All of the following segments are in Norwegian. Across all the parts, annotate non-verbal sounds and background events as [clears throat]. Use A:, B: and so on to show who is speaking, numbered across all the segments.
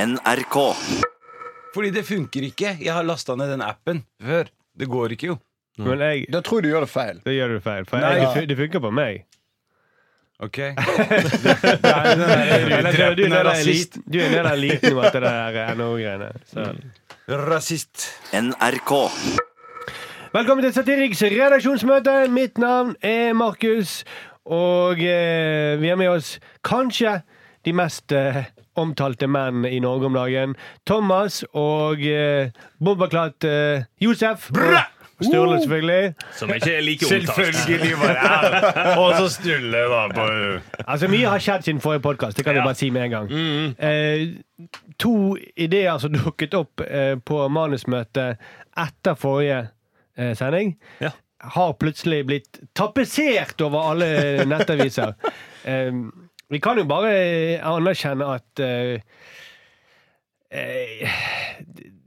A: NRK.
B: Fordi det funker ikke. Jeg har lasta ned den appen før. Det går ikke, jo.
C: Men Mm. jeg,
D: Da tror jeg du gjør det feil.
C: da gjør du feil. For
B: Nei.
C: jeg, det fun- det funker på
B: [laughs]
C: meg.
B: OK? [laughs] Eller,
C: Eller, du, du,
B: du
C: er
B: er
C: en
B: rasist. Mm.
C: eliten- du er en del av eliten nå etter det der eh, NHO-greiene. så.
B: Rasist.
A: NRK.
C: Velkommen til Satiriks redaksjonsmøte. Mitt navn er Markus. Og eh, vi har med oss kanskje de mest eh, omtalte menn i Norge om dagen. Thomas og eh, bombaklat eh, Josef. Brø! Og Sturle, selvfølgelig.
E: Som ikke er like
C: var det
E: Og så Sturle, da. På,
C: Altså, Mye har skjedd siden forrige podkast. Det kan vi
E: Ja. Mm.
C: bare si med en gang. Eh, to ideer som [laughs] dukket opp eh, på manusmøtet etter forrige eh, sending,
E: Ja.
C: har plutselig blitt tapetsert over
E: [laughs]
C: alle nettaviser. eh, vi kan jo bare anerkjenne at eh, eh,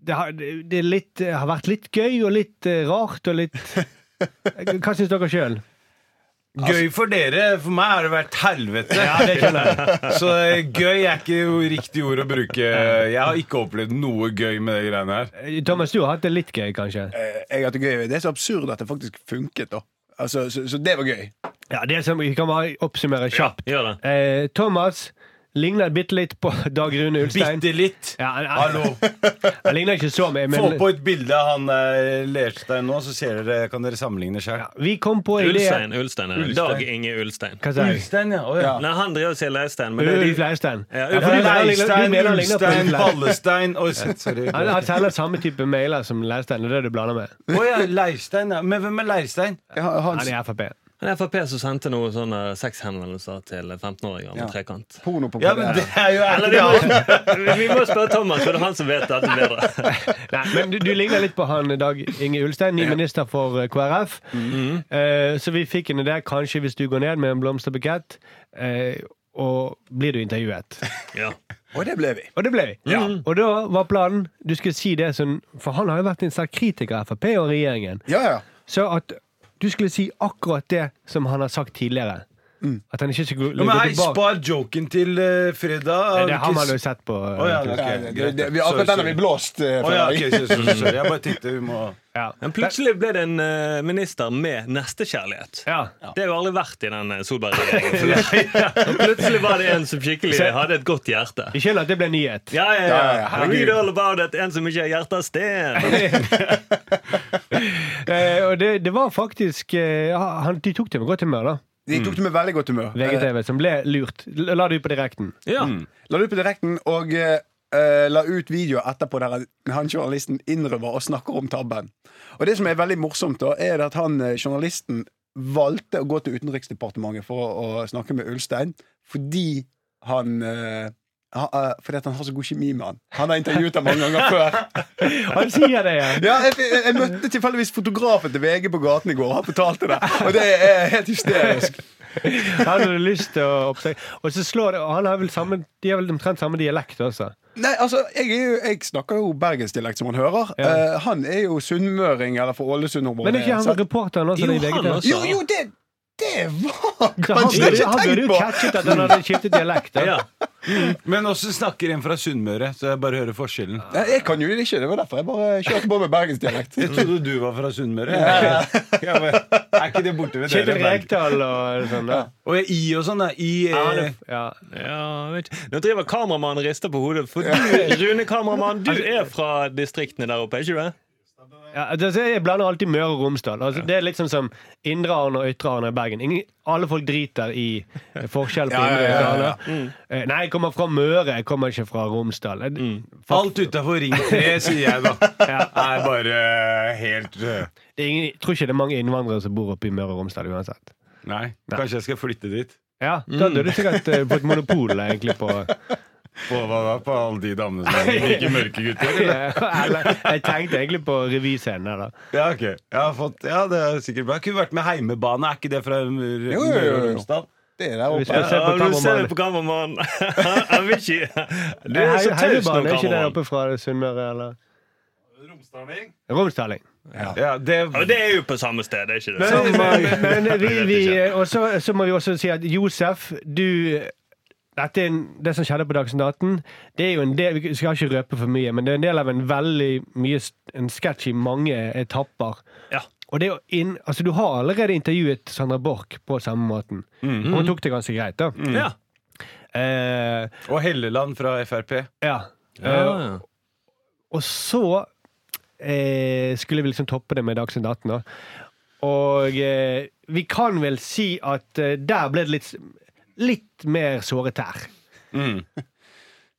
C: det, har, det, er litt, det har vært litt gøy og litt eh, rart og litt
E: [laughs]
C: Hva syns dere sjøl?
B: Gøy for dere. For meg har det vært helvete. [laughs] Så eh, gøy er ikke jo riktig ord å bruke. Jeg har ikke opplevd noe gøy med de greiene her.
C: Thomas, du har hatt det litt gøy, kanskje?
D: Eh, Jeg har hatt det gøy. Det er så absurd at det faktisk funket, da. Altså, så, så det var gøy.
C: Ja, det som Vi kan bare oppsummere kjapt.
E: gjør det.
C: Eh, Thomas ligner bitte litt på [laughs] Dag Rune Ulstein.
B: Bitte litt.
C: Ja, han, han,
B: Hallo.
C: [laughs] han ligner ikke så mye,
B: Få
C: men
B: på et bilde av han eh, Lerstein nå, så ser dere, kan dere sammenligne sjøl.
C: ja, vi kom på ideen
E: Ulstein. Ulstein, er det. Dag Inge Ulstein.
C: Hva sa jeg?
B: ja. Å, ja.
E: Nei, han driver og sier Leirstein, men det er
C: Ulf
E: de
C: Leirstein.
E: Ja,
C: Ja,
E: Ulf
C: for du mener han ligner- du
B: Leirstein,
C: mener han ligner på Ulf
B: Ulstein,
C: Leirstein.
B: Ballestein Oi, sorry.
C: Han har sender samme type mailer som Leirstein, og det er det du blander med.
B: Å ja, Leirstein, ja. Men hvem er Leirstein?
D: Jeg har-
C: Han
D: Hans
C: er Frp.
E: Han er Frp som sendte noen sånne sexhenvendelser til 15-åringer med
D: Ja.
E: trekant.
D: porno på
B: Ja, men det er jo
E: Eller
D: [laughs]
E: det er han. Vi må spørre Thomas, for det er han som vet dette bedre.
C: Nei, men du, du ligner litt på han Dag Inge Ulstein, ny minister for eh, KrF.
E: Mm-hmm.
C: Eh, så vi fikk en idé, kanskje hvis du går ned med en blomsterbukett, eh, og blir du intervjuet.
E: Ja.
D: Og det ble vi.
C: Og det ble vi. Og da var planen Du skulle si det som For han har jo vært en sterk kritiker av Frp og regjeringen.
D: Ja, ja.
C: Så at du skulle si akkurat det som han har sagt tidligere. At han ikke skulle
B: Mm. Ja, men
C: gå
B: hei,
C: tilbake.
B: Spar joken til eh, fredag.
C: Nei,
B: Har
C: Det
B: du
C: har
B: ikke
C: man jo
B: s-
C: sett på. eh,
B: Å, ja,
C: YouTube.
B: ok,
D: Ja, det, det, det, vi,
B: greit.
D: akkurat den har
B: Sorry,
D: vi blåst. eh,
B: sorry. Å, ja,
D: Fredrik.
B: ok, sorry, sorry, sorry. Jeg bare tenkte vi må
C: Ja.
E: Men plutselig ble det en eh, minister med nestekjærlighet.
C: Ja.
E: Det har jo aldri vært i den eh, [laughs] Solberg-regjeringen. Og Plutselig var det en som skikkelig hadde et godt hjerte.
C: Vi skjønner at det ble nyhet.
E: Ja, ja,
D: Ja, ja,
E: ja.
D: herregud.
E: Read all about it. En som ikke har hjertet av
C: [laughs]
E: sten.
C: [laughs] Eh, og det, det var faktisk eh, han, De tok det med godt humør, da.
B: Eh.
D: De tok det med veldig godt humør. Eh,
C: VGTV, som ble lurt. L- La det ut på direkten.
E: Ja.
D: La det ut på direkten, og eh, eh, la ut videoer etterpå der han journalisten innrømmer og snakker om tabben. Og det som er veldig morsomt, da, er at han eh, journalisten valgte å gå til Utenriksdepartementet for å, å snakke med Ulstein fordi han eh, ha, eh, fordi at han har så god kjemi med han. Han har intervjuet ham
B: [laughs]
D: mange ganger før.
C: Han sier det, ja!
D: Ja, jeg, jeg, jeg møtte tilfeldigvis fotografen til VG på gaten i går. Han fortalte det. Og det er helt hysterisk.
C: Han hadde lyst til å oppsøke Og så slår det, og han har vel samme, de har vel omtrent samme dialekt også.
D: Nei, altså, jeg, er jo, jeg snakker jo bergensdialekt, som han hører.
C: Ja.
D: Eh, han er jo sunnmøring, eller fra Ålesund-området.
C: Men er ikke
D: så-
C: han reporteren også?
E: Jo,
C: det i
E: han
C: VGTV?
E: også.
D: Jo, jo, det, det var
C: Så han
D: kanskje
C: burde,
D: ikke
C: han burde
D: tenkt
C: jo
D: på!
C: catchet at han hadde skiftet dialekt. da.
E: Ja.
B: Men også snakker en fra Sunnmøre, så jeg bare hører forskjellen.
D: Nei, jeg kan jo det ikke. Det var derfor jeg bare kjørte på med bergensdialekt.
B: Jeg trodde du var fra Sunnmøre. [laughs] Ja, men Er ikke det borte ved
C: Kjetil
B: dere? Berg?
C: Rekdal og sånn. da.
B: Og jeg- I og sånn, da. I
C: Ja, han
B: eh,
C: er- Ja.
E: Ja, vet ikke. Nå driver kameramannen og rister på hodet. For du, Rune kameramann, du er fra distriktene der oppe, er ikke du det?
C: Ja, altså, jeg blander alltid Møre og Romsdal. Altså, det er litt sånn som Indre Arne og Ytre Arne i Bergen. Ingen, alle folk driter i forskjell på
D: Ja, ja,
C: Indre og Ytre
D: ja, ja, Mm.
C: Arne. Eh, Nei, jeg kommer fra Møre, jeg kommer ikke fra Romsdal. Jeg-
D: Mm.
B: alt utafor Ring 3, sier jeg da. Er bare helt eh,
C: Det er ingen, jeg tror ikke det er mange innvandrere som bor oppe i Møre og Romsdal uansett.
B: Nei, kanskje jeg skal flytte dit.
C: Ja, Da hadde du sikkert eh, fått monopol egentlig [laughs] på
B: På hva da? På alle de damene som liker mørke gutter? Eller?
C: [laughs] Eller, Jeg tenkte egentlig på revyscenen. her, da.
B: Ja, ok. Jeg har fått, ja, det er sikkert bra. Jeg kunne vært med Heimebane. Er ikke det fra Møre
D: Jo, jo, jo,
B: Møre og
D: jo.
B: Romsdal?
D: Det er der
C: Hvis
D: oppe.
C: jeg ser på
E: du ser
C: kameramannen.
E: det på kameramannen. [laughs] Jeg vil ikke Du
C: Hei-
E: er så taus nå,
C: Heimebane, Er ikke det
E: kameramannen.
C: oppe fra Sunnmøre, eller?
B: Romsdaling?
C: Romsdaling.
B: Ja, det,
E: Ja, det er jo på samme sted, er ikke det?
C: [laughs] Men, men, men vi, vi, og så, så må vi også si at Josef, du dette er en, det som skjedde på Dagsnytt 18, det er jo en del Vi skal ikke røpe for mye, men det er en del av en veldig mye s- En sketsj i mange etapper.
E: Ja.
C: Og det er jo inn, altså Du har allerede intervjuet Sandra Borch på samme måten. Og hun tok det ganske greit, da.
E: Mhm. Ja.
C: Eh,
A: Og Helleland fra Frp.
C: ja. Eh,
E: Ja.
C: og så eh, skulle vi liksom toppe det med Dagsnytt 18. da. Og eh, vi kan vel si at eh, der ble det litt, litt mer såret tær.
A: Mm.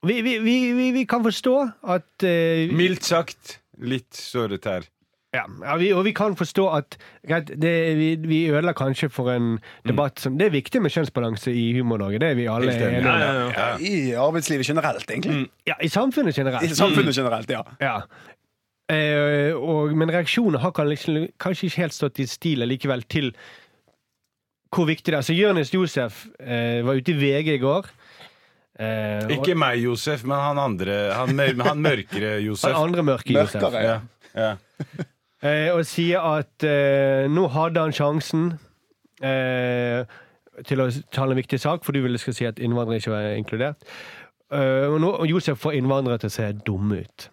C: Vi, vi, vi, vi, vi kan forstå at eh,
A: Mildt sagt litt såret her.
C: ja, ja, vi, Og vi kan forstå at greit, det, vi, vi ødela kanskje for en debatt som Det er viktig med kjønnsbalanse i Humor-Norge, det er vi alle
A: Helt enig.
C: enige
E: Mm. Ja,
C: om.
E: ja, ja.
D: I arbeidslivet generelt, egentlig.
C: Ja, I samfunnet generelt.
D: I samfunnet generelt, ja.
C: Ja. Eh, og, men reaksjonene har kan liksom, kanskje ikke helt stått i stil likevel til hvor viktig det er. Så Jonis Josef eh, var ute i VG i går. Eh,
A: Ikke meg, Josef, men han andre. Han, mør han mørkere
C: og han
A: Josef.
C: andre mørke Josef.
D: Mørkere.
A: Ja, ja.
C: Eh, og sier at eh, nå hadde han sjansen eh, til å tale en viktig sak, for du ville skal si at innvandrere ikke var inkludert. Eh, og, nå, og Josef får innvandrere til å se dumme ut.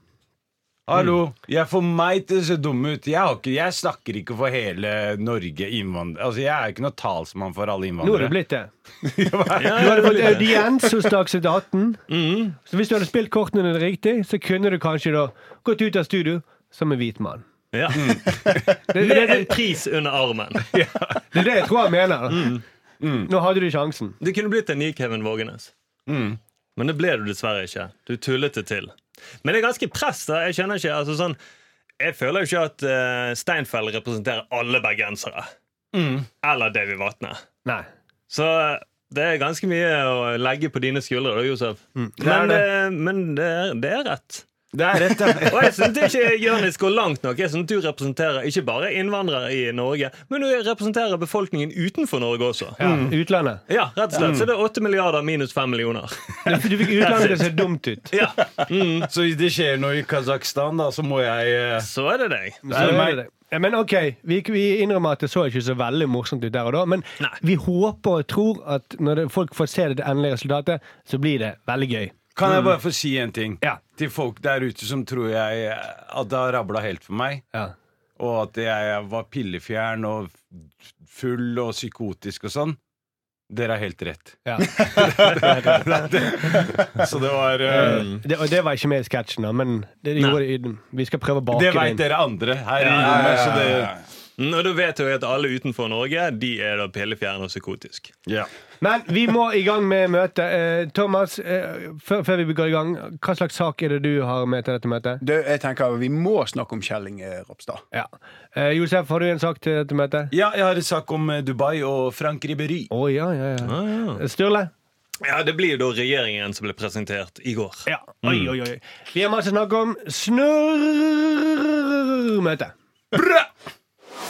A: Hallo, jeg får meg til å se dum ut. Jeg, har ikke, jeg snakker ikke for hele Norge. Innvandrer. Altså, jeg er ikke noe talsmann for alle
C: Nå er
A: innvandrere.
C: det blitt det.
A: blitt
C: Du hadde fått audiens hos Dagsnytt 18. Så hvis du hadde spilt kortene dine riktig, så kunne du kanskje da gått ut av studio som en hvit mann.
E: Ja.
C: Det er det,
E: Med en pris under armen.
C: det, er det jeg tror han mener. da. Nå hadde du sjansen.
E: Det kunne blitt en ny Kevin Vågenes.
A: Mm.
E: Men det ble du dessverre ikke. Du tullet det til. Men det er ganske press. da. Jeg kjenner ikke, altså sånn, jeg føler jo ikke at eh, Steinfeld representerer alle bergensere.
A: Mm.
E: Eller Davy Vatne.
C: Nei.
E: Så eh, det er ganske mye å legge på dine skuldre, da, Josef.
A: er
E: Men,
A: Mm. det.
E: eh, men det, er, det er rett.
A: Det er rett, ja.
E: Og jeg syns ikke Jonis går langt nok. Jeg synes Du representerer ikke bare innvandrere i Norge, men du representerer befolkningen utenfor Norge også.
C: Ja. Utlandet.
E: Ja, rett og slett. Så det er 8 milliarder minus 5 millioner.
C: Du fikk utlandet til å se dumt ut.
E: [laughs] Ja,
A: Så hvis det skjer noe i Kasakhstan, da, så må jeg eh,
E: Så er det deg.
C: Så
A: det
C: er
A: meg.
C: det det. Ja, Men ok, vi, vi innrømmer at det så ikke så veldig morsomt ut der og da, men
E: Nei.
C: vi håper og tror at når det, folk får se det endelige resultatet, så blir det veldig gøy.
A: Kan jeg bare få si en ting?
C: Ja.
A: Til folk der ute som tror jeg at det har rabla helt for meg.
C: Ja.
A: Og at jeg var pillefjern og full og psykotisk og sånn. Dere har helt rett.
C: Ja.
A: Så det var eh,
E: Mm.
C: Det, og det var ikke med i sketsjen, da, men det gjorde det i den. vi skal prøve å bake
A: Det
C: det
A: veit
C: inn.
A: dere andre her i
E: ja,
A: rommet, så det
E: Mm, Og da vet jeg jo at alle utenfor Norge De er da pillefjerne og psykotisk.
C: Men vi må i gang med møtet. Eh, Thomas, eh, før, før vi går i gang, hva slags sak er det du har med til dette møtet?
D: Du, jeg tenker Vi må snakke om Kjelling eh, Ropstad.
C: Ja. Eh, Josef, har du en sak til dette møtet?
A: Ja, jeg har en sak om eh, Dubai og Frank Ribery.
C: Å ja, ja, ja.
E: ja.
C: Eh, Sturle?
E: Det blir jo da regjeringen som ble presentert i går.
C: Ja. Oi, oi, oi. Vi har masse å snakke om. Snurrmøte.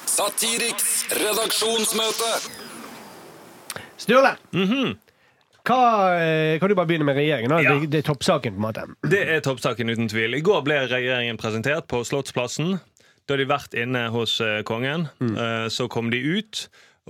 F: Satiriks redaksjonsmøte.
C: Sturle! hva, eh, kan du bare begynne med regjeringen? Da?
E: Ja.
C: Det, det er toppsaken, på en måte.
E: Det er toppsaken uten tvil. I går ble regjeringen presentert på Slottsplassen. Da hadde de vært inne hos eh, kongen. Eh, Så kom de ut,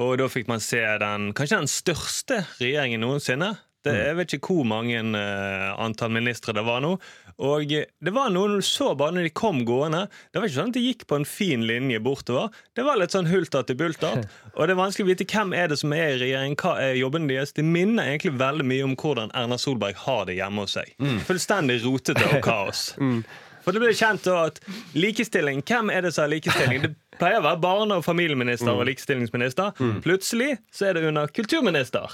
E: og da fikk man se den kanskje den største regjeringen noensinne. Det, jeg vet ikke hvor mange eh, antall ministre det var nå. Og eh, det var noen du så bare når de kom gående. Det var ikke sånn at de gikk på en fin linje bortover. Det var litt sånn hulter til bulter. Og det er vanskelig å vite hvem er det som er i regjering, hva er jobben deres. Det minner egentlig veldig mye om hvordan Erna Solberg har det hjemme hos seg. Fullstendig rotete og kaos. For det ble kjent da at likestilling, hvem er det som har likestilling? Det pleier å være barne- og familieminister og likestillingsminister. Plutselig så er det under kulturminister.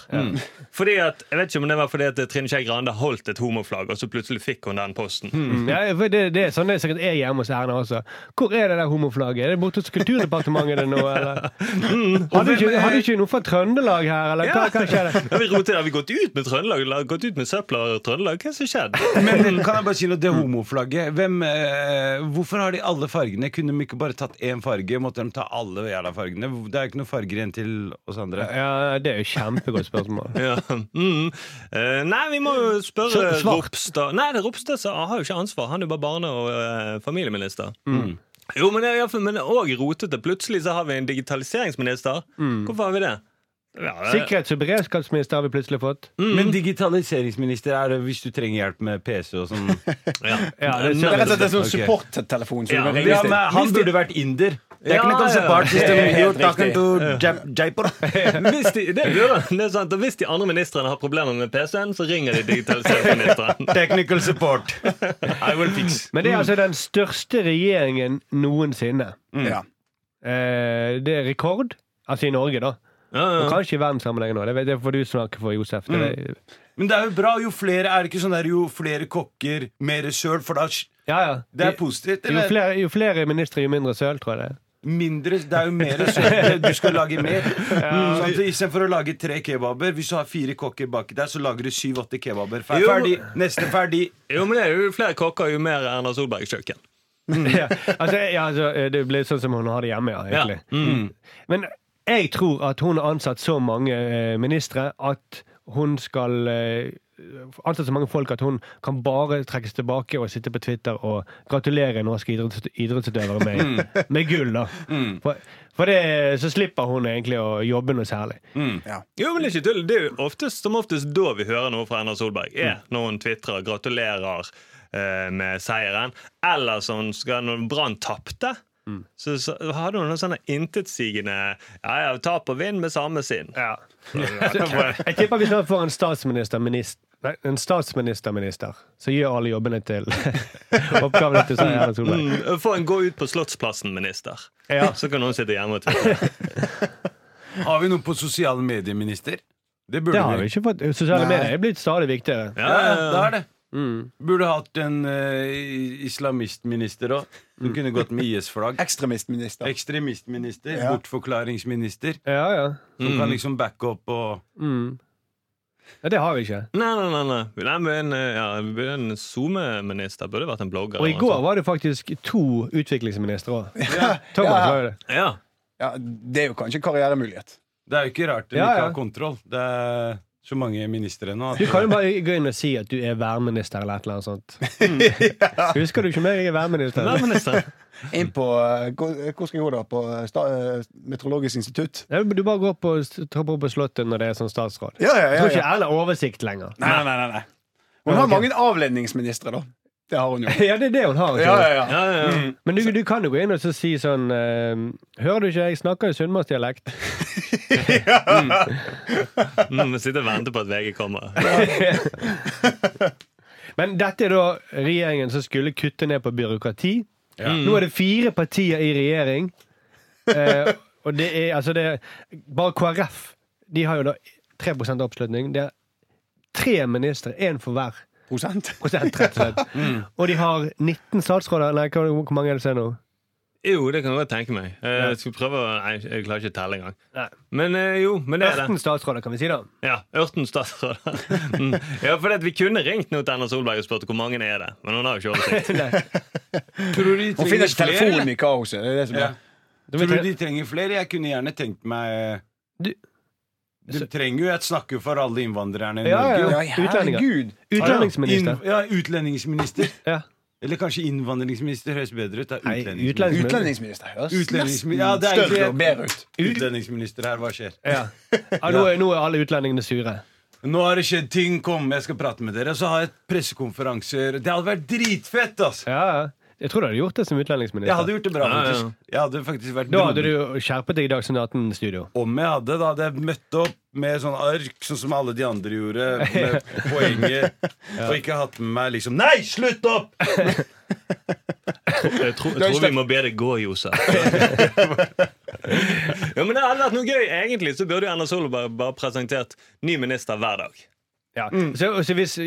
E: Fordi at, jeg vet ikke om det var fordi at Trine Skei Grande holdt et homoflagg, og så plutselig fikk hun den posten.
C: Ja, for det, det er sånn det sikkert er hjemme hos Erna også. Hvor er det der homoflagget? Er det borte hos Kulturdepartementet det nå,
E: [laughs]
C: eller? Har du ikke, har du ikke noe fra Trøndelag her, eller? Hva, hva skjer det?
E: Mm. eh, Ja, vi roter, har vi gått ut med Trøndelag? Eller Gått ut med søpla og Trøndelag? Hva er det som skjedde?
A: Men eh, kan jeg bare si noe det homoflagget? Hvem, eh, hvorfor har de alle fargene? Kunne de ikke bare tatt én farge? Måtte de ta alle jævla fargene? Det er jo ikke noen farger igjen til oss andre.
C: Ja, det er jo kjempegodt spørsmål.
E: [laughs] Ja. Mm. Eh, nei, vi må jo spørre
C: Så- svart.
E: Ropstad. Nei, det er Ropstad som har jo ikke ansvar. Han er jo bare barne- og eh, familieminister.
D: Mm. Mm.
E: Jo, men det er i hvert fall- men det er òg rotete. Plutselig så har vi en digitaliseringsminister. Hvorfor har vi det? Ja, det-
C: Sikkerhets- og beredskapsminister har vi plutselig fått.
E: Mm.
B: Men digitaliseringsminister er det hvis du trenger hjelp med PC og sånn.
E: Ja.
C: Ja, det
D: Det er rett og slett en sånn
B: Ok.
D: supporttelefon. som
E: Ja,
D: du kan
E: men-
D: ringe
B: Ja,
D: til.
B: men han burde vært inder.
E: Ja,
B: Technical
E: ja.
B: support system.
D: Det er
B: You're
D: helt
B: talking
D: riktig.
B: to Jap- Jaipur.
E: Hvis de, det burde han. Det er sant. Og hvis de andre ministrene har problemer med PC-en, så ringer de
D: [laughs]
E: digitaliseringsministeren.
B: Technical support.
E: I will fix.
C: Men det er altså den største regjeringen noensinne.
D: Ja.
C: Eh, det er rekord. Altså i Norge, da.
E: Ja, Mm.
C: Og
E: ja.
C: kanskje i verdenssammenheng nå. Det vet- Det får du snakke for, Josef. Det er,
B: Men det er jo bra. Jo flere er det ikke sånn der, jo flere kokker, mer søl, for da
C: ja, ja.
B: Det er positivt.
C: Jo
B: Eller
C: flere, jo flere ministre, jo mindre søl, tror jeg det er.
B: mindre Det er jo mer søl. Du skal lage mer. Sånn, at Istedenfor å lage tre kebaber, hvis du har fire kokker baki deg, så lager du syv-åtte kebaber. Fer-
E: Jo.
B: Ferdig. Neste ferdig.
E: Jo, men det er jo flere kokker, jo mer Erna Solberg kjøkken.
C: [laughs] ja, altså, ja, altså, det blir sånn som hun har det hjemme, ja, egentlig. Mm. Men jeg tror at hun har ansatt så mange eh, ministre at hun skal eh, Ansatt så mange folk at hun kan bare trekkes tilbake og sitte på Twitter og gratulere norske idretts idrettsutøvere med, med gull, da. For, for det, så slipper hun egentlig å jobbe noe særlig.
D: Mm.
E: Jo, men Det er ikke tull. Det er jo oftest, som oftest da vi hører noe fra Erna Solberg, er når hun tvitrer 'gratulerer eh, med seieren', eller sånn skal når Brann tapte. Så, så hadde hun noe sånn intetsigende ja, ja, 'tap og vinn med samme sinn'.
C: Altså, Jeg tipper vi snart får en statsministerminister. Nei, en statsministerminister som gjør alle jobbene til [laughs] oppgavene til Sverre Erna Solberg.
E: Mm, Få en gå ut på Slottsplassen-minister.
C: Ja.
E: Så kan hun sitte hjemme og tvitre.
B: Har vi noe på sosiale medier, minister? Det burde
C: Det har vi ikke fått. Sosiale medier er blitt stadig viktigere.
B: Ja, ja, det er det. Burde hatt en eh, islamistminister òg. Som kunne gått med
D: [laughs]
B: IS-flagg.
D: Ekstremistminister.
B: Ekstremistminister.
D: Ja.
B: Bortforklaringsminister.
C: Ja, ja.
B: Som
E: Mm.
B: kan liksom backe opp og
C: Mm. ja det har vi ikke.
E: Nei, nei, nei. nei. nei men, eh, ja, en SoMe-minister burde vært en blogger.
C: Og i
E: eller noe
C: går
E: sånt.
C: var det faktisk to utviklingsministre òg.
D: altså. Ja.
C: [laughs] Thomas var jo det.
E: Ja.
D: Ja, det er jo kanskje en karrieremulighet.
B: Det er jo ikke rart de
C: Ja,
B: ikke
C: ja.
B: har kontroll. Det er så mange ministre nå. at-
C: Du kan jo bare gå inn og si at du er værminister eller et eller annet
D: [laughs]
C: sånt. Mm. Husker du ikke mer? Jeg er værminister.
E: Nei, minister.
D: Inn på eh, hvor hvor skal jeg gå da? På sta, eh, Meteorologisk institutt?
C: Ja, men Du bare går på, trapper opp på Slottet når det er sånn statsråd.
D: Ja, ja,
C: Jeg
D: ja,
C: tror ikke
D: ja.
C: Erle har oversikt lenger. [laughs]
D: Nei, nei, nei, nei. Hun har mange avledningsministre, da. Det har hun jo.
C: Ja, Mm. det er det hun har. ikke
D: Ja,
C: sant?
D: ja, ja.
E: Ja, ja, ja.
C: Men du, du kan jo gå inn og så si sånn eh, Hører du ikke? Jeg snakker jo sunnmørsdialekt.
E: Mm, sitter og venter på at VG kommer.
C: Men dette er da regjeringen som skulle kutte ned på byråkrati. Nå er det fire partier i
B: [laughs]
C: regjering. Eh, og det er altså det er, Bare KrF de har jo da 3 oppslutning. Det er tre ministre, én for hver
D: Prosent.
C: prosent, rett
B: [laughs]
C: og slett.
B: Mm.
C: Og de har 19 statsråder. Nei, hva- hvor mange er det som er nå?
E: Jo, det kan jeg godt tenke meg. Eh, Jeg skal prøve å, Nei, jeg klarer ikke å telle engang.
C: Nei.
E: Men eh, jo, men det er det.
C: 18 statsråder, kan vi si da.
E: Ja, Ørten statsråd. Mm. Ja, for vi kunne ringt nå til Erna Solberg og spurt hvor mange er det Men hun har jo ikke oversikt. [laughs]
B: Tror du de
D: Hun
B: trenger flere?
D: finner ikke
B: eller?
D: telefonen i kaoset. Det er det som
B: Ja.
D: er.
B: Tror du de trenger flere? Jeg kunne gjerne tenkt meg
C: Du-
B: Du trenger jo Jeg snakker jo for alle innvandrerne i
C: Ja,
B: Norge.
C: ja,
B: jo.
C: ja.
D: Ja, herregud.
B: Inn-
C: Utlendingsminister.
B: Ja, utlendingsminister.
C: Ja.
B: Eller kanskje innvandringsminister høres bedre ut. Da.
C: Nei,
B: Utlendingsminister.
D: Utlendingsminister. Det høres
B: Utlendingsmi-
D: nesten
B: ja, det er egentlig-
D: større og bedre ut.
B: Utlendingsminister her, hva skjer?
C: Ja. Ja, nå, er, nå er alle utlendingene sure.
B: Nå har det skjedd ting, kom, jeg skal prate med dere. Og så har jeg pressekonferanser. Det hadde vært dritfett, altså!
C: Ja, ja. Jeg tror du hadde gjort det som utlendingsminister.
B: Jeg hadde gjort det bra,
E: Ja, ja.
B: faktisk. Jeg hadde faktisk vært
C: Da hadde
B: broder.
C: du jo skjerpet deg i Dagsnytt 18-studio.
B: Om jeg hadde, da hadde jeg møtt opp med sånn ark, sånn som alle de andre gjorde,
C: [laughs]
B: med poenget, og ikke hatt med meg liksom Nei, slutt opp!
E: Jeg tror, jeg tror vi må be det gå, [laughs] Josef. Ja, men det hadde vært noe gøy. Egentlig så burde jo Erna Solberg bare presentert ny minister hver dag.
C: Ja. Så, så hvis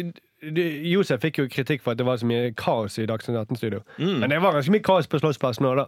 C: du, Josef fikk jo kritikk for at det var så mye kaos i Dagsnytt 18-studio. Men det var ganske mye kaos på Slottsplassen òg, da.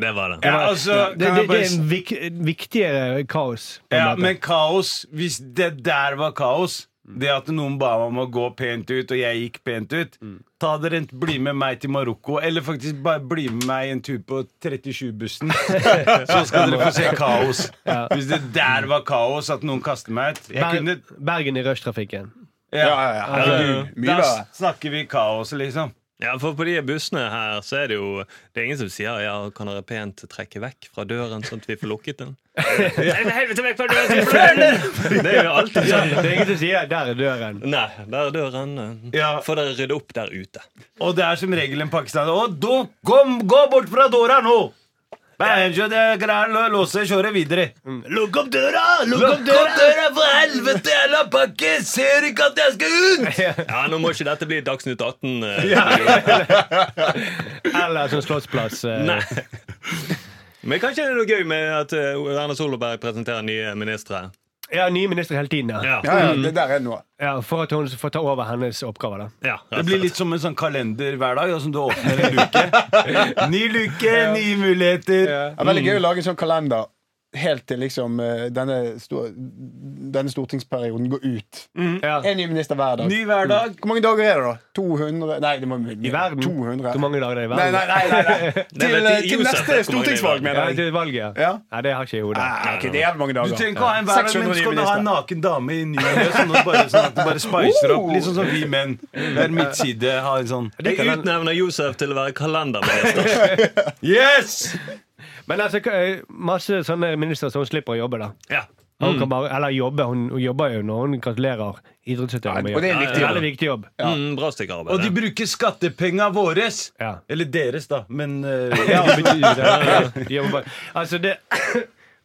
E: Det var det.
B: Mm. Ja, altså, kan
C: Det, det,
B: jeg
C: det
B: bare
C: er
B: s-
C: en vik, viktigere kaos. på en
B: Ja,
C: måte.
B: men kaos Hvis det der var kaos Det at noen ba meg om å gå pent ut Og jeg gikk pent ut
C: Mm.
B: Ta dere en, bli med meg til Marokko Eller faktisk bare bli med meg en tur på
C: [laughs]
B: 37-bussen Så skal dere få se kaos Hvis det der var kaos At noen kastet meg ut Jeg kunne
C: Ber, Bergen i rushtrafikken.
B: ja,
D: Ja, ja, ja. Herregud. Mye
B: Da
D: bedre.
B: snakker vi kaos liksom
E: Ja, for på de bussene her så er det jo Det er ingen som sier ja, kan dere pent trekke vekk fra døren, sånn at vi får lukket den. Nei, for helvete vekk fra døren, så vi får lukket den! [laughs] Det er jo alltid sånn.
C: Det er ingen som sier 'der er døren'.
E: Nei, der er døren.
B: Ja.
E: Får dere rydde opp der ute.
B: Og det er som regel en pakistaner. Å, du, kom, gå bort fra døra nå! Men, så det er greit, la- Låse, kjøre videre.
C: Lukk opp døra! Lukk
B: Lukk opp døra, for helvete! Jeg la pakke! Ser ikke at jeg skal ut!
E: Ja, Nå må ikke dette bli Dagsnytt 18. eh,
C: Eller som Slottsplass. eh,
E: Nei. Men kanskje det er noe gøy med at eh, Erna Solberg presenterer nye ministre.
C: Ja, nye ministre hele tiden. Ja.
E: Ja,
D: Ja, ja, det der er noe.
C: Ja, for at hun får ta over hennes oppgaver. da
E: ja
B: [laughs] Det blir litt som en sånn kalender hver dag, som du åpner [laughs] en luke. [laughs] Ny luke, nye muligheter.
D: Det er veldig gøy å lage en sånn kalender helt til liksom eh, denne, sto- denne stortingsperioden går ut.
C: Ja.
D: En ny minister hver dag.
B: Ny hverdag.
D: Hvor mange dager er det, da? 200? Nei, det må
C: I verden.
D: 200.
C: Hvor mange dager det er i
D: Nei,
C: verden?
D: nei, nei, nei,
C: [laughs]
D: nei. Til,
E: vet
D: eh,
E: ikke Josef hvor
D: til neste
E: mange det er i
D: stortingsvalg,
E: verden.
C: Ja,
D: mener jeg.
C: det er valget,
D: Ja.
C: Nei, det har ikke jeg i hodet.
D: Nei, ok, det er jævlig mange
B: Du
D: dager.
B: trenger ikke å ha en hver dag, men
D: 600
B: skal du ha en naken dame i ny og ne, sånn at bare- sånn at det bare spicer opp. Litt sånn som vi menn. Hver midtside har en sånn
E: Jeg utnevner Josef til å være kalenderminister.
B: Yes!
C: Men altså, k- eh, masse sånne ministre som slipper å jobbe, da.
E: Ja.
C: Hun kan bare, eller jobbe, hun, hun jobber jo når hun gratulerer idrettsutøvere med
D: Og det er en viktig jobb.
C: Veldig viktig jobb.
E: Mm, bra stykke
B: Og de
E: arbeid. det.
B: bruker skattepenga våres.
C: Ja.
B: Eller deres, da. Men eh,
C: Ja, men de- de- de jobber bare- altså det [clears throat]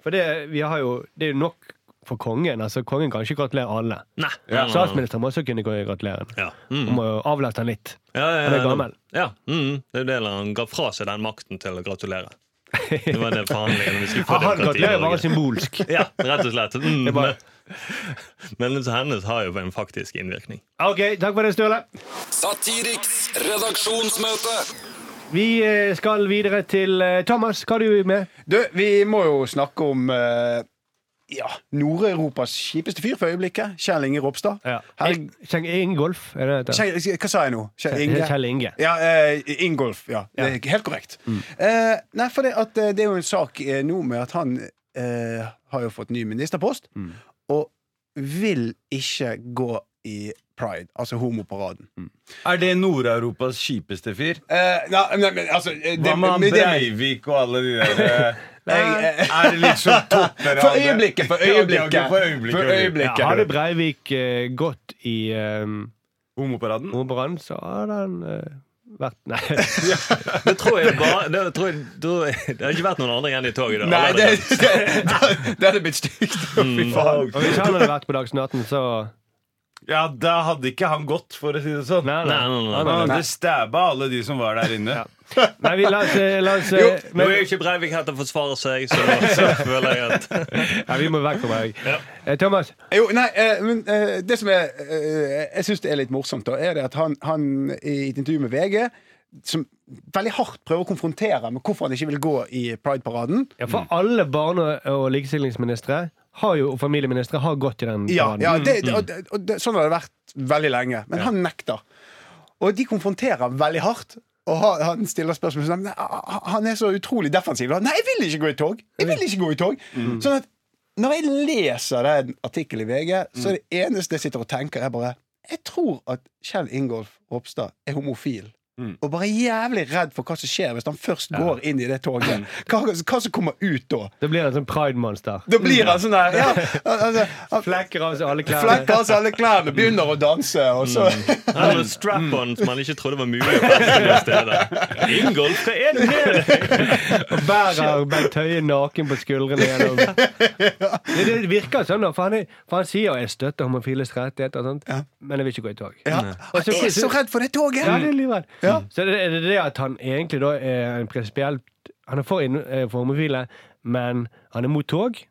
C: For det, vi har jo, det er jo nok for kongen. Altså Kongen kan ikke gratulere alle.
E: Nei. nei, nei, nei.
C: Statsministeren må også kunne gratulere. han.
E: Ja. Mm.
C: Hun må jo avlaste han litt.
E: Ja, ja, ja,
C: Han er gammel.
E: Ja, mm, det er jo det han ga fra seg den makten til å gratulere. Det var
C: [laughs]
E: det forhandlingene vi skulle få
C: Han
E: demokrati i
C: gratulerer bare
E: Norge.
C: symbolsk.
E: [laughs] Ja, rett og slett. Mm,
C: Det er bare-
E: men men hennes har jo en faktisk innvirkning.
C: OK, takk for det, Sturle.
F: Satiriks redaksjonsmøte.
C: Vi eh, skal videre til eh, Thomas. Hva har du med?
D: Du, vi må jo snakke om eh, ja, Nord-Europas kjipeste fyr for øyeblikket. Kjell Inge Ropstad. Her,
C: Ing- Kjell Ingolf, er det det heter?
D: Kjell, hva sa jeg nå? Kjell Inge?
C: Kjell Inge.
D: Ja, eh, Ingolf. Ja, det er helt korrekt. Eh, nei, for det, at, eh, det er jo en sak eh, nå med at han eh, har jo fått ny ministerpost, og vil ikke gå i pride, altså homoparaden.
B: er det Nord-Europas kjipeste fyr?
D: Eh, nei, nei, men altså eh, det,
B: Hva med han
D: men det-
B: Breivik og alle de der eh,
D: Jeg, eh,
B: Er det liksom topper
D: [laughs] For øyeblikket,
B: [laughs]
D: for øyeblikket.
B: Ok, ok, for øyeblikket.
D: For
C: Ja,
D: øyeblikket.
C: hadde Breivik eh, gått i eh,
B: Homoparaden?
C: Oberan, så hadde han eh, vært [laughs] Nei.
E: Det tror jeg [laughs] bare Det, tror jeg, det har ikke vært noen andre igjen i toget. da.
D: Nei,
E: Alle
D: det,
E: hadde-
D: [laughs] det, det hadde blitt stygt. Å,
B: Mm.
D: Fy faen.
C: Og hvis han hadde vært på Dagsnytt 18, så
B: Ja, da hadde ikke han gått, for å si det sånn.
C: Nei,
E: Nei, nei, nei,
B: Han
E: nei.
B: hadde stabba alle de som var der inne.
C: Nei, vi, la oss, eh, la oss eh,
D: Jo,
E: Nå er
C: men,
E: jo ikke Breivik her til å forsvare seg, så, så føler jeg at
C: ja, Vi må vekk fra Breivik. Eh, Thomas,
D: Jo, nei, eh, men eh, det som er, eh, jeg syns det er litt morsomt, da, er det at han, han i et intervju med VG som veldig hardt prøver å konfrontere med hvorfor han ikke vil gå i Pride-paraden.
C: ja, for alle barne- og likestillingsministre har jo, og familieministre har gått i den
D: Ja,
C: paraden.
D: ja det, det, og, det- og det, Sånn har det vært veldig lenge, men han nekter. Og de konfronterer veldig hardt. Og ha- han stiller spørsmål som Han er så utrolig defensiv. Han, Nei, jeg vil ikke gå i tog! Jeg vil ikke gå i tog Sånn at når jeg leser den artikkelen i VG, så er det eneste jeg sitter og tenker, er bare Jeg tror at Kjell Ingolf Ropstad er homofil. Og bare jævlig redd for hva som skjer hvis han først går inn i det toget. Hva, hva som kommer ut da?
C: Det blir en sånn pride-monster.
D: Da blir han sånn der [laughs] ja, altså, han-
C: Flekker av seg alle klærne.
D: Flekker av seg alle klærne, begynner å danse, og så
E: Han hadde strap-on som han ikke trodde var mulig. å feste noe sted. Ingolf, hva er det med deg?
C: [laughs] Og bærer Bent Høie naken på skuldrene
D: [laughs]
C: gjennom det, det virker sånn, da. For han, er, for han sier 'jeg støtter homofiles rettigheter' og sånt, men jeg vil ikke gå i tog.
D: ja. Han er så redd for det toget!
C: Ja, det er livredd. Så er det, er det det at han egentlig da er en prinsipielt Han er for, inn- eh, for homofile, men han er mot tog.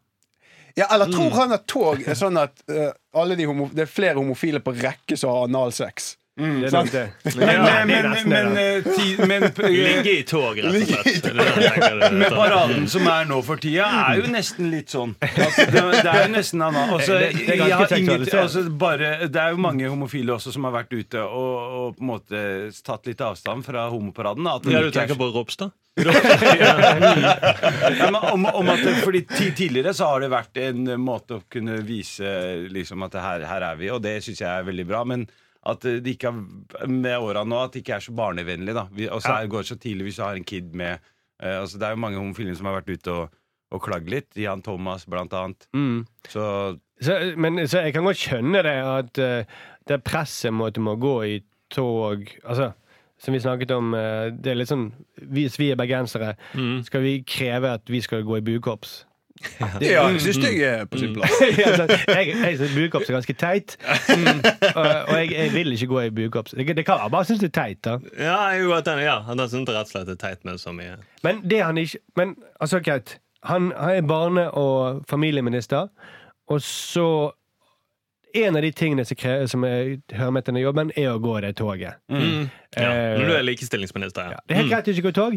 D: Ja, eller tror han at tog er sånn at eh, alle de homo det er flere homofile på rekke som har analsex?
C: Det er nok
D: sant.
C: det.
B: Men,
C: Ja,
B: men,
C: det er
B: men,
C: nesten det, da.
B: eh, ti- men eh,
E: Ligge i tog, rett
C: [laughs]
E: og slett. Det er det jeg tenker det-
B: Med paraden som er nå for tida, er jo nesten litt sånn. At det, det er jo nesten annet. Altså,
C: Det- det er ganske
B: jeg har inget,
C: seksualisert.
B: altså, bare, det er jo mange homofile også som har vært ute og, og på en måte tatt litt avstand fra homoparaden. da, At det
E: Ja,
B: ikke
C: Mm.
E: du
B: er
E: tenker på Ropstad?
B: Ja, men om, om at det, fordi ti- Tidligere så har det vært en måte å kunne vise liksom, at det her, her er vi, og det syns jeg er veldig bra. Men At eh, det ikke er, med åra nå at det ikke er så barnevennlig. da Vi- Og så er- går det så tidlig hvis du har en kid med eh, altså, Det er jo mange homofile som har vært ute og, og klagd litt. Jan Thomas, blant annet. Så
C: Så, men så jeg kan godt skjønne det, at eh, det presset med at du må gå i tog Altså, som vi snakket om, eh, det er litt sånn Hvis vi er bergensere, skal vi kreve at vi skal gå i buekorps?
D: Ja,
C: [laughs]
D: jeg syns jeg er på sin plass.
C: Ja, sant. sånn, jeg jeg syns buekorps er ganske teit, Mm. og, og jeg, jeg vil ikke gå i buekorps. Det, det kan jeg bare synes det er teit, da.
E: Ja, jo, at den, ja, han synes rett og slett det er teit med så mye.
C: Men det han ikke Men altså, Kate. Han, han er barne- og familieminister, og så En av de tingene som, kre- som er, hører med til denne jobben, er å gå det toget.
E: Ja,
C: Eh,
E: når du er likestillingsminister. Ja.
C: Det er helt greit å ikke gå i tog,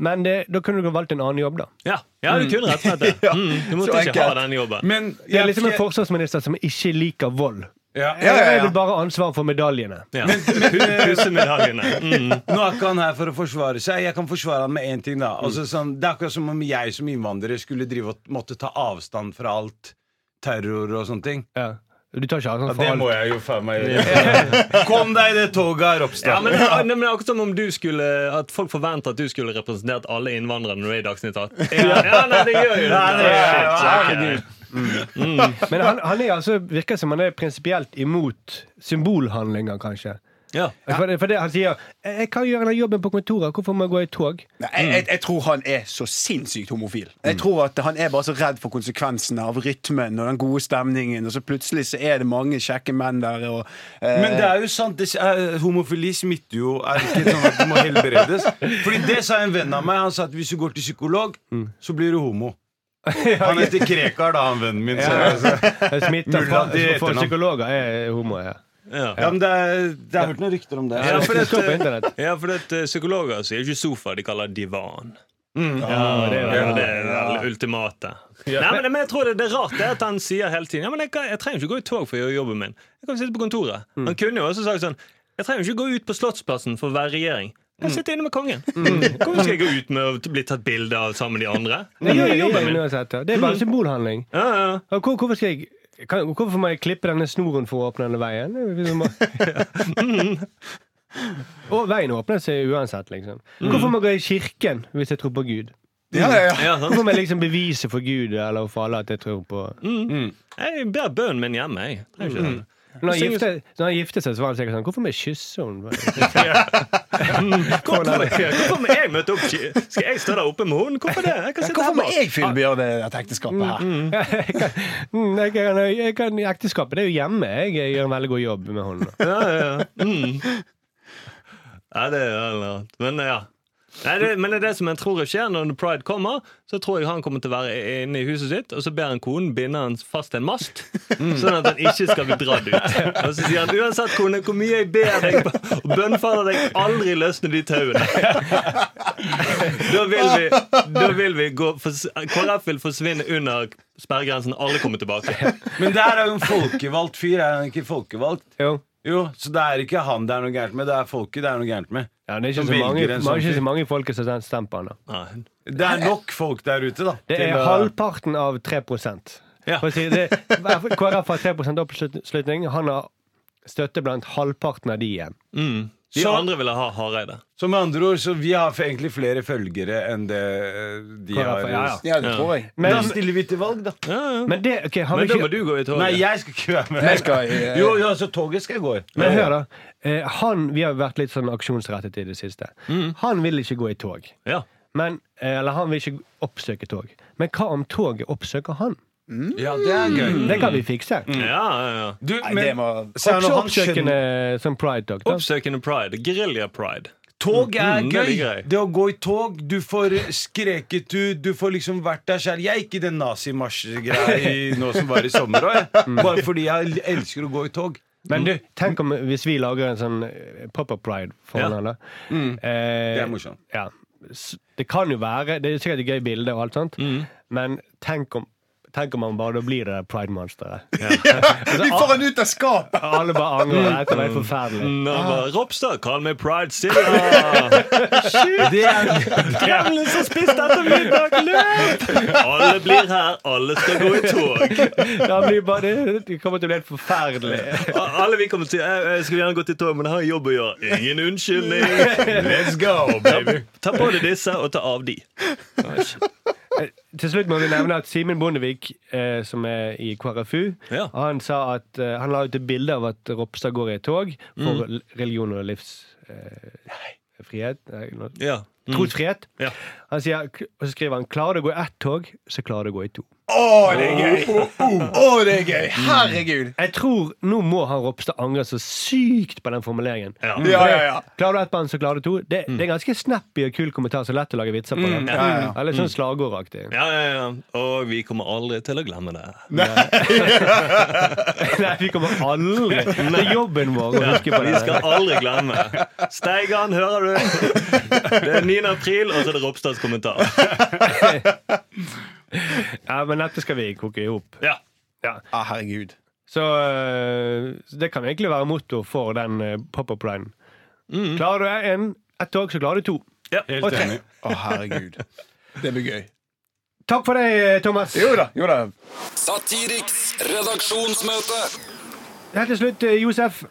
C: men det, da kunne du valgt en annen jobb, da.
E: Ja, [laughs] ja du kunne rett og slett det. Mm, du måtte
D: så
E: ikke ha
D: enkelt.
E: den jobben.
B: Men
C: Det er liksom en forsvarsminister som ikke liker vold.
B: ja.
D: Ja, ja,
C: Jeg
D: ja.
C: vil bare ha ansvar for medaljene.
E: Ja. [laughs] Pusse medaljene. Mm.
B: Nå er ikke han her for å forsvare seg. Jeg kan forsvare han med én ting. da altså, sånn, Det er akkurat som om jeg som innvandrer skulle drive og måtte ta avstand fra alt terror og sånne ting.
C: Ja. Du tar ikke ansvar for alt.
B: jeg jo faen meg gjøre. Kom deg i det toget her, Ropstad.
E: Ja, men, nei, men det er akkurat som om du skulle At folk forventer at du skulle representert alle innvandrere når du er i Dagsnytt 18. Ja, ja, nei, det gjør jo det.
B: Nei, det gjør jeg.
E: Shit, ok.
C: Men han, han er altså, virker som han er prinsipielt imot symbolhandlinger, kanskje.
E: Ja.
C: For, det, for det, Han sier «Jeg- 'Jeg kan gjøre den jobben på kontoret, hvorfor må jeg gå i tog?'
D: Nei, jeg, jeg, jeg tror han er så sinnssykt homofil. Jeg tror at Han er bare så redd for konsekvensene av rytmen og den gode stemningen, og så plutselig så er det mange kjekke menn der. Og, eh,
B: Men det er jo sant, det er, homofili smitter jo Er det ikke sånn at det må helbredes Fordi det sa en venn av meg Han sa at hvis du går til psykolog,
C: Mm.
B: så blir du
C: [laughs]
B: homo Han heter Krekar da, han vennen min så, altså.
C: Smitter
B: Mulla,
C: fra,
B: det heter
C: for
B: han.
C: psykologer er homoer. Ja.
E: Ja.
B: Ja, men det er, det er hørt noen rykter om det
E: Ja, for
C: Det står på
E: at,
C: internett.
E: ja, for at eh, psykologer sier ikke sofa, de kaller divan.
C: Ja, det er
E: Ja, det er vel ultimate. Nei, men, men jeg tror det, det er rart det er at han sier hele tiden Ja, men jeg, kan- jeg trenger ikke gå i tog for å gjøre jobben min. Jeg kan sitte på kontoret.
D: Mm.
E: Han kunne jo også sagt sånn Jeg trenger ikke gå ut på Slottsplassen for å være regjering.
D: Mm.
E: Jeg sitter inne med kongen. Mm. Hvorfor skal jeg gå ut med å bli tatt bilde av sammen med de
D: [laughs]
E: andre? Jeg gjør jo jobben
C: det
E: min.
C: er uansett, ja. Det er bare symbolhandling.
E: Ja, ja.
C: Og Hvor, hvorfor, skal jeg, kan, hvorfor må jeg klippe denne snoren for å åpne denne veien? Hvis jeg må- Og veien åpner seg uansett, liksom. Hvorfor må jeg gå i kirken hvis jeg tror på Gud?
D: ja, ja, ja.
E: ja sant?
C: Hvorfor må jeg liksom bevise for Gud eller for alle at jeg tror på
E: Jeg bærer bønnen min hjemme, jeg. Trenger ikke
D: Mm.
E: den.
C: Når han gifte, når han gifte seg, så var han sikkert sånn Hvorfor må jeg kysse henne?
E: Hvorfor, hvorfor må jeg møte opp? Skal jeg stå der oppe med hun? Hvorfor det? Jeg kan sitte her
D: Hvorfor må
E: bak.
D: jeg fullbyrde dette ekteskapet her?
C: [laughs] Jeg kan, mm, jeg kan, jeg kan Ekteskapet det er jo hjemme. Jeg, jeg gjør en veldig god jobb med hånda.
E: ja, ja. ja. Mm. Nei, det er noe annet. Men ja. Nei, det, men det er det som jeg tror skjer når pride kommer. Så tror jeg han kommer til å være inne i huset sitt, og så ber han konen binde han fast til en mast. Sånn at han ikke skal bli dratt ut. Og så sier han uansett kone, hvor mye jeg ber deg og bønnfaller deg, aldri løsne de tauene. Da vil vi, da vil vi gå fors- KrF vil forsvinne under sperregrensen, alle kommer tilbake.
B: Men det her er jo en folkevalgt fyr Er han ikke folkevalgt?
C: Jo.
B: Jo, så det er ikke han det er noe gærent med Det er folket det er noe gærent med
C: Ja, det er ikke
B: Som
C: så mange,
B: velger en sånn
C: ikke
B: fyr.
C: så mange i folket som stemmer på han. da.
E: Nei.
B: Det er nok folk der ute da
C: Det
B: til
C: er
B: å-
C: halvparten av 3 For å si det- KrF har 3 oppslutning. Han har støtte blant halvparten av de igjen.
E: De
B: Så-
E: andre ville ha Hareide.
B: Så med andre ord, så vi har egentlig flere følgere Enn det eh, de
C: KrF,
B: har
C: ja, ja.
D: Ja, det tror jeg.
B: Da
C: Men,
B: stiller vi til valg da
E: Ja, ja.
C: men det ok, han vil
E: Men da må
C: ikke,
E: du gå i toget.
B: Nei, jeg skal ikke være med
D: Jeg skal, eh,
B: Jo, jo, altså toget skal jeg gå i.
C: Men hør, da. Eh, Han, vi har vært litt sånn aksjonsrettet i det siste.
B: Mm.
C: Han vil ikke gå i tog.
E: Ja.
C: Men, eh, eller han vil ikke oppsøke tog. Men hva om toget oppsøker han?
B: Ja, det er gøy.
C: Det kan vi fikse.
B: Mm.
E: Ja, ja, ja.
B: Du,
D: Nei,
B: men
D: det må
B: se her nå,
C: Også
B: han skjønner
C: oppsøkende som pride dog. Da.
E: Oppsøkende pride. Gerilja-pride.
B: Tog er
E: Mm, det er
B: gøy.
E: gøy.
B: Det å gå i tog, du får skreket ut, du får liksom vært der selv. Jeg er ikke den nazimarsjgreia i- nå som var i sommer òg, jeg. Bare fordi jeg elsker å gå i tog.
C: Men du, tenk om hvis vi lager en sånn eh, pop-up pride for
E: Ja.
C: han, da. Eh,
B: Mm. Det er morsomt.
C: Ja.
B: Mm.
C: S- Det kan jo være Det er sikkert et gøy bilde og alt sånt, men tenk om Tenk om han bare da blir det der pride-monsteret.
D: Vi får han ut av skapet!
C: Alle bare angrer.
B: Mm.
C: Dette var helt forferdelig.
E: Nå
B: Ah.
E: bare, Ropstad, kall meg Pride City! Shit!
C: [laughs]
E: Kremlen som spiste etter middag,
B: [laughs]
E: løp! Alle blir her, alle skal gå i tog.
C: Det, blir bare, det kommer til å bli helt forferdelig.
E: Og Alle vi kommer til jeg, jeg skulle gjerne gått i tog, men jeg har en jobb å gjøre. Ingen unnskyldning.
B: Let's go, baby.
E: Ta på deg disse, og ta av de.
C: Til slutt må vi nevne at Simen Bondevik, eh, som er i KrFU,
E: Ja.
C: han sa at eh, Han la ut et bilde av at Ropstad går i et tog for
D: Mm.
C: l- religion og livsfrihet. Eh, frihet. Nei, nå-
E: Ja.
D: Mm.
C: Trosfrihet.
E: Ja.
C: Han sier, og så skriver han 'Klarer du å gå i ett tog, så klarer du å gå i to'.
D: Å, det er gøy! Å, det er gøy!
B: Mm.
D: Herregud!
C: Jeg tror nå må han Ropstad angre så sykt på den formuleringen.
E: Ja.
D: Ja, ja, ja. Mm.
C: Klarer du ett band, så klarer du to. Det, det er en ganske snappy og kul kommentar, så lett å lage vitser på. det.
D: ja, ja. Mm.
C: Eller sånn slagordaktig.
D: [laughs]
E: Ja, ja, ja. Og vi kommer aldri til å glemme det.
C: Nei, vi kommer aldri Det er jobben vår å huske på
E: Vi
C: det.
E: skal aldri glemme. Steigan, hører du? Det er 9. april, og så er det Ropstads kommentar.
C: Ja, men dette skal vi koke i hop.
E: Ja.
D: Ah, herregud.
C: Så øh, så det kan egentlig være motto for den øh, pop-up-linen.
D: Mm.
C: Klarer du en, ett tog, så klarer du to.
B: Helt enig.
D: Å, herregud. Det blir gøy.
C: Takk for deg, Thomas.
D: Jo da, jo da.
F: Satiriks redaksjonsmøte.
C: Helt til slutt, øh, Josef.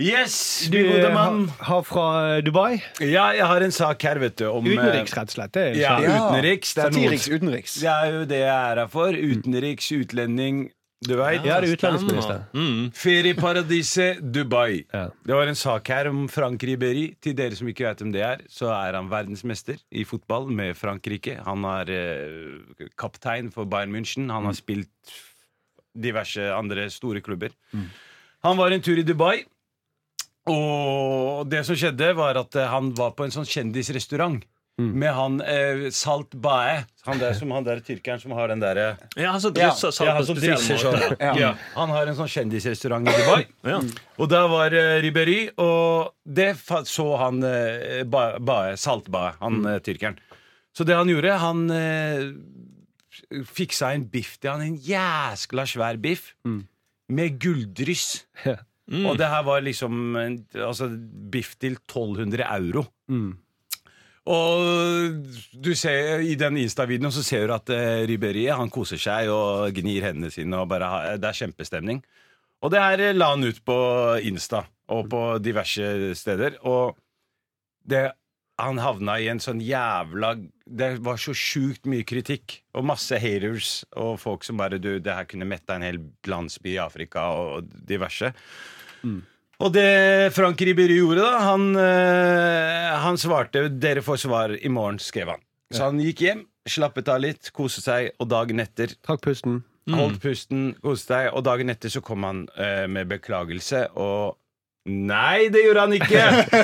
B: Yes,
C: Du
B: min gode
C: øh,
B: mann.
C: har- har fra øh, Dubai.
B: Ja, jeg har en sak her, vet du. Om, eh,
C: Utenriks, rett og slett. Det er sånn.
B: Ja,
C: sant.
D: Ja.
B: utenriks. Det er,
D: Satiriks
B: noe,
D: utenriks.
B: det er jo det jeg er her for. Utenriks, utlending, du veit.
C: Ja, det er utlendingsminister.
B: Ferieparadiset Dubai.
C: Ja.
B: Det var en sak her om Frank Ribéry. Til dere som ikke vet hvem det er, så er han verdensmester i fotball med Frankrike. Han er eh, kaptein for Bayern München. Han har spilt diverse andre store klubber. Han var en tur i Dubai, og det som skjedde, var at eh, han var på en sånn kjendisrestaurant. Med han eh, Salt Bae, han der, som han der tyrkeren som har den derre
E: Ja, han som
B: ja, ja,
E: drysser salt på
B: han som
E: spesiell
B: drysser
E: måte.
B: sånn. Ja. Han har en sånn kjendisrestaurant i Dubai.
E: Ja.
B: Og der var uh, Ribéry, og det fa- så han uh, ba, Bae- Saltbae, han eh, tyrkeren. Så det han gjorde, han eh, fiksa en biff til han, en jæskla svær biff, med gulldryss.
C: Ja.
B: Og det her var liksom en, altså, biff til 1200 euro. Og du ser i den Insta-videoen så ser du at eh, Ribéry han koser seg og gnir hendene sine. og bare, ha- Det er kjempestemning. Og det her eh, la han ut på Insta og på diverse steder. Og det, han havna i en sånn jævla Det var så sjukt mye kritikk. Og masse haters og folk som bare Du, det her kunne metta en hel landsby i Afrika, og, og diverse. Og det Frank Ribéry gjorde, da han, eh, han svarte 'Dere får svar i morgen', skrev han. Så han gikk hjem, slappet av litt, koste seg, og dagen etter
C: Trakk pusten.
B: Holdt pusten, koste deg, og dagen etter så kom han eh, med beklagelse og Nei, det gjorde han ikke!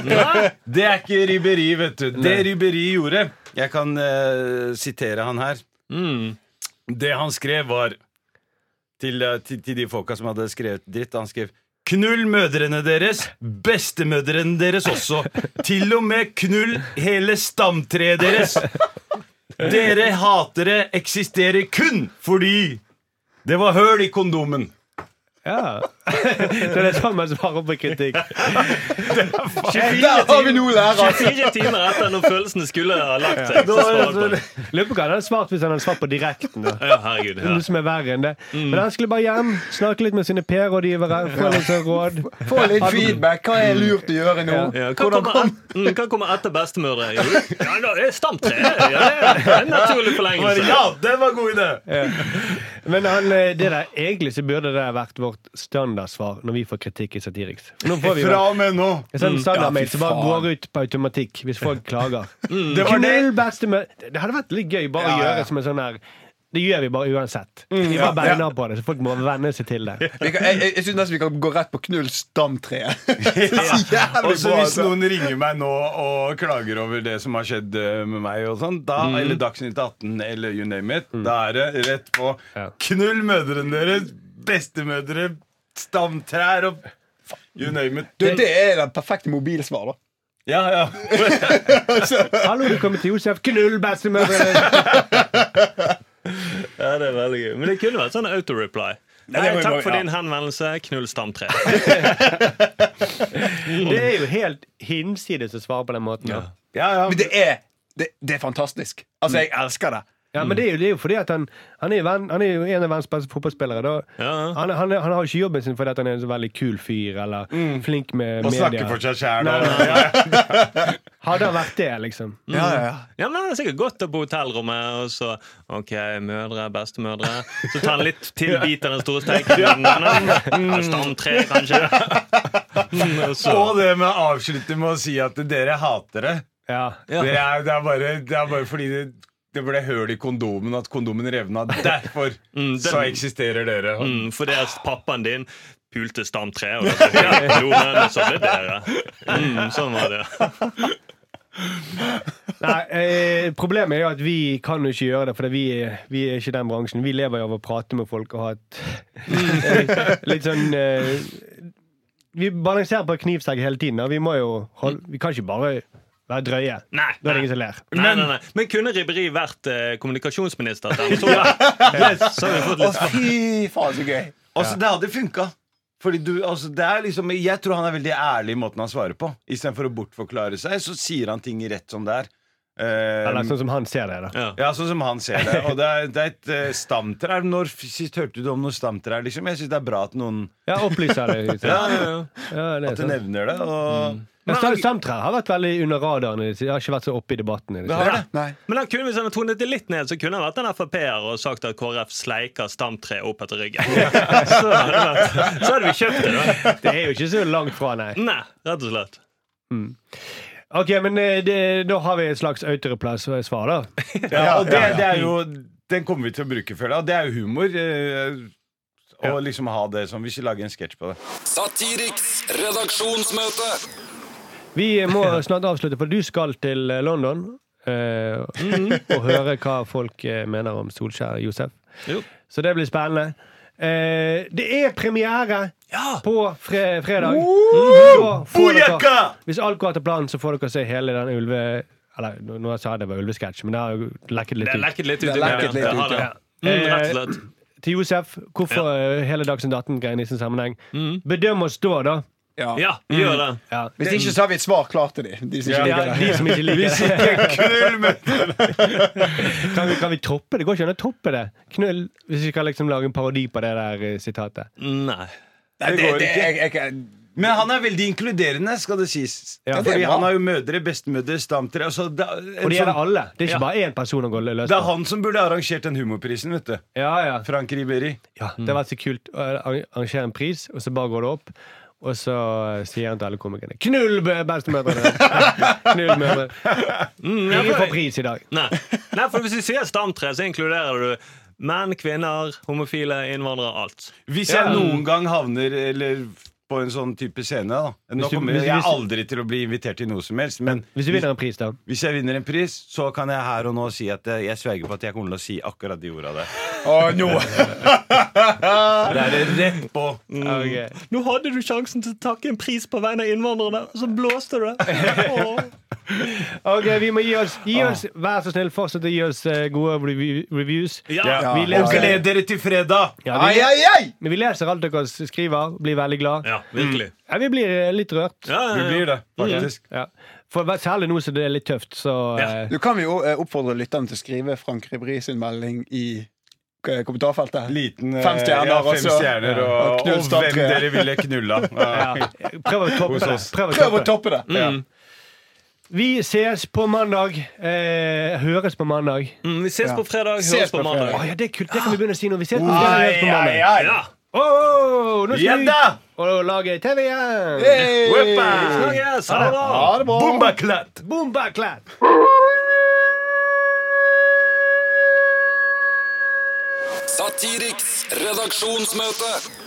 B: Nei, det er ikke Ribéry, vet du. Det Ribéry gjorde Jeg kan eh, sitere han her.
E: Mm.
B: Det han skrev var til, eh, til, til de folka som hadde skrevet dritt Han skrev Knull mødrene deres, bestemødrene deres også Til og med knull hele stamtreet deres Dere hatere eksisterer kun fordi Det var høl i kondomen
C: Ja. [laughs] Så det er sånn man svarer på kritikk.
D: Der har vi noe å lære! altså.
E: 24 timer etter når følelsene skulle ha lagt seg. Så svarer han på det.
C: Lurer på hva han hadde svart hvis han hadde svart på direkten. da.
E: Ja, herregud. Ja.
C: Noe som er verre enn det.
D: Mm.
C: Men han skulle bare hjem, snakke litt med sine PR-rådgivere, få litt sånn
D: [laughs]
C: råd.
D: Få litt feedback. Hva er lurt å gjøre nå?
E: Ja, hva,
D: Hvordan
E: kommer
D: kom
E: et, mm, hva kommer etter bestemødre? Jo, Ja, da, det er stamtre! Ja, det er en naturlig forlengelse.
B: den var god idé
C: Men han, eh, det der, egentlig så burde det vært vårt standardsvar når vi får kritikk i Satiriks. For Nå får vi
D: Fra
C: vel-
D: og med nå!
C: en sånn standardmail
D: Ja, fy
C: som bare
D: faen. Mm.
C: går ut på automatikk hvis folk klager.
D: [laughs]
B: Det var det
C: Knull bestemø... Det hadde vært litt gøy bare
D: Ja, Mm,
C: å
D: ja, ja.
C: gjøre som en sånn her Det gjør vi bare uansett. Vi bare beiner på det, så folk må venne seg til det.
D: Vi kan, jeg jeg, jeg syns nesten vi kan gå rett på knull stamtreet.
B: Og
D: Jævlig
B: så
D: bra.
B: hvis
D: Altså.
B: noen ringer meg nå og klager over det som har skjedd eh, med meg, og sånn, da, eller Dagsnytt 18 eller you name it, da er det rett på
C: Ja.
B: Knull mødrene deres, bestemødre, stamtrær og fa- you name it.
D: Du, det er det perfekte mobilsvar, da.
B: Ja, ja.
D: [laughs]
C: Hallo, du kommer til Josef. Knull bestemødrene!
E: Ja, det er veldig gøy. Men det kunne vært sånn auto-reply. Nei,
D: det var jo
E: takk
D: bare-
E: for
D: ja.
E: din henvendelse. Knull stamtre.
C: Det er jo helt hinsides å svare på den måten. da.
B: Ja, ja.
D: Men det er, det, det er fantastisk. Altså, jeg elsker det.
C: Ja,
E: Mm.
C: men det er jo, det er jo fordi at han, han, er, jo venn, han er jo en av verdens beste fotballspillere. Da.
E: Ja.
C: Han, han, han har jo ikke jobben sin fordi at han er en så veldig kul fyr eller flink med
B: Og
C: media.
B: snakke for seg sjæl.
C: Nei, nei,
E: [laughs]
C: nei. Hadde han vært det, liksom.
D: Ja, ja, ja.
E: Ja, men Han er sikkert godt på hotellrommet, og så OK, mødre, bestemødre. Så tar han litt til bit av den store
B: [laughs]
E: steiken. Ja, Stamtre, kanskje. Mm, og så-
B: Og det med å avslutte med å si at dere hater det.
C: Ja.
E: Ja.
B: Det, er, det, er bare, det er bare fordi det, det ble høl i kondomen, at kondomen revna.
E: [laughs]
B: Derfor
E: Mm, den-
B: så eksisterer dere.
E: Mm, fordi at pappaen din pulte stamtre, og da ble det klonen, og så ble dere. Mm, sånn var det.
C: Nei, eh, problemet er jo at vi kan jo ikke gjøre det, for vi, er- vi er ikke den bransjen. Vi lever jo av å prate med folk og ha et eh,
E: Mm.
C: [laughs] litt sånn eh, Vi balanserer på en knivsegg hele tiden. Og vi, må jo holde, vi kan ikke bare være drøye.
E: Nei,
C: Da er
E: nei.
C: det ingen som ler.
E: Nei, nei, nei. Men kunne Ribberi vært eh, kommunikasjonsminister? Sånn, Der? Så,
B: [laughs]
E: yes, så har vi fått
D: Å,
E: litt
D: fy faen, så gøy.
B: Altså, det hadde funka. Fordi du, altså, det er liksom, jeg tror han er veldig ærlig i måten han svarer på. Istedenfor å bortforklare seg, så sier han ting rett som det er. Eh,
C: Eller sånn som han ser det, da.
E: ja.
B: ja, sånn som han ser
E: [laughs]
B: det. Og det er, det er et eh, stamtrær. Når f- sist hørte du om noe stamtrær? Liksom? Jeg syns det er bra at noen
C: Ja, opplyser
B: [laughs]
C: det. liksom.
B: ja,
C: Ja, det er
B: at du
C: sant.
B: nevner det. Og
C: Men Sam- Samtrær har vært veldig under radaren. i det siste. Jeg har ikke vært så oppe i debatten. i det siste.
E: Ja.
D: Nei.
E: Men da kunne, hvis han hadde tonet det litt ned, så kunne han vært en Frp-er og sagt at KrF sleiker stamtre opp etter
B: [laughs]
E: ryggen. Så hadde, det vært, så hadde vi kjøpt det, da.
C: Det er jo ikke så langt fra, nei.
E: Nei, rett og slett.
C: Ok, men eh, det, Da har vi et slags autoreplass-svar, da.
B: Ja, og det, det er jo Den kommer vi til å bruke før da. Det er jo humor. Eh, å liksom ha det som Vi skal lage en sketsj på det.
F: Satiriks redaksjonsmøte.
C: Vi må snart avslutte, for du skal til eh, London eh,
E: Mm.
C: og høre hva folk eh, mener om Solskjær Josef.
E: Jo.
C: Så det blir spennende. Eh, det er premiere
E: Ja.
C: på fre fredag. Mm, da får dere-
B: Booyaka!
C: Hvis alt går etter planen, så får dere se hele den ulve... Eller, nå nå sa jeg det var ulvesketsj, men det har jo lekket litt
E: Det er
C: ut.
E: lekket litt ut
D: Det
E: i
D: er
E: media.
D: lekket litt
E: Det har
D: ut,
E: det.
D: ja.
E: Mm, rett og slett.
C: Til Josef, hvorfor eh, hele Dagsnytt 18-greiene i sin sammenheng? Bedøm oss da, da.
D: Ja.
E: Mhm. Ja, vi gjør det.
C: Ja.
D: Hvis ikke, så har vi et svar klart til dem. De som ikke
C: Ja,
D: liker det.
C: de som ikke liker det. [laughs] kan, vi, kan vi toppe det? Går ikke an å toppe det. Knull, hvis vi skal liksom lage en parodi på det der eh, sitatet.
E: Nei.
D: Nei,
B: går
D: det, det,
B: ikke.
D: jeg, jeg, jeg,
B: Men han er veldig inkluderende, skal det sies.
C: Ja.
B: Fordi
D: Det er bra.
B: han har jo mødre, bestemødre, stamtere altså, det, er- en
C: Og det gjelder
B: sånn,
C: alle. Det er
E: Ja.
C: ikke bare én person å gå løs
B: det er
C: på.
B: han som burde ha arrangert den humorprisen, vet du.
C: Ja, ja.
B: Frank Riberi.
C: Ja, det var så kult å arrangere en pris, og så bare går det opp. Og så eh, sier han til alle komikerne Knull be- bestemødrene! Knull mødre. Ingen får pris i dag.
E: Nei. Nei, for hvis vi sier stamtre, så inkluderer du menn, kvinner, homofile, innvandrere, alt.
B: Hvis
C: Ja.
B: jeg noen gang havner eller på en sånn type scene, da. Nå
C: Hvis du-
B: kommer
C: hvis-
B: jeg, jeg
C: hvis-
B: er aldri til å bli invitert til noe som helst, men
C: Hvis du vinner en pris, da.
B: hvis jeg vinner en pris, så kan jeg her og nå si at jeg, jeg sverger på at jeg kommer til å si akkurat de orda der.
D: Å, nå!
B: [laughs] Det er det rett på.
C: Ok.
E: Nå hadde du sjansen til å takke en pris på vegne av innvandrerne, og så blåste du det.
C: Ok, vi må gi oss. Gi oss Vær så snill, fortsett å gi oss eh, gode revi- reviews.
E: [laughs] Ja.
C: Vi
B: Og
C: leser,
B: gled dere til fredag!
C: ja,
D: Ai,
C: vi,
D: ai, ai!
C: men vi leser alt dere skriver, blir veldig glad.
E: ja, virkelig.
C: Ja, vi blir eh, litt rørt. Mm.
E: Ja,
B: Du
E: ja, ja.
B: blir det, faktisk.
C: Ja. For hva- særlig nå som det er litt tøft, så eh,
D: Du kan jo eh, oppfordre lytterne til å skrive Frank Ribri sin melding i eh, kommentarfeltet.
B: Liten, eh,
D: Fem stjerner
B: ja, fem
D: også.
B: stjerner og,
D: Og knull
B: og,
D: stamtre.
B: hvem dere ville knulla. Ja.
C: ja. Prøv å toppe
B: Hos
C: det.
B: oss.
C: Prøv å
D: Prøv
C: toppe det.
D: å toppe det!
C: Vi ses på mandag. Eh, høres på mandag.
E: Mm, vi ses på fredag,
D: Ses
E: høres på
D: på
C: Å
E: mandag.
C: ja, det er kult. Det kan vi begynne å si når vi ses på fredag. Høres på mandag.
E: Ja.
C: Åh, nå skal vi
B: Gjedda!
C: ut og lage TV igjen.
D: Hey!
E: Snakkes! Ha det bra!
D: Ha det bra!
B: Bombaklatt!
C: Boom, backlat.
F: Satiriks redaksjonsmøte.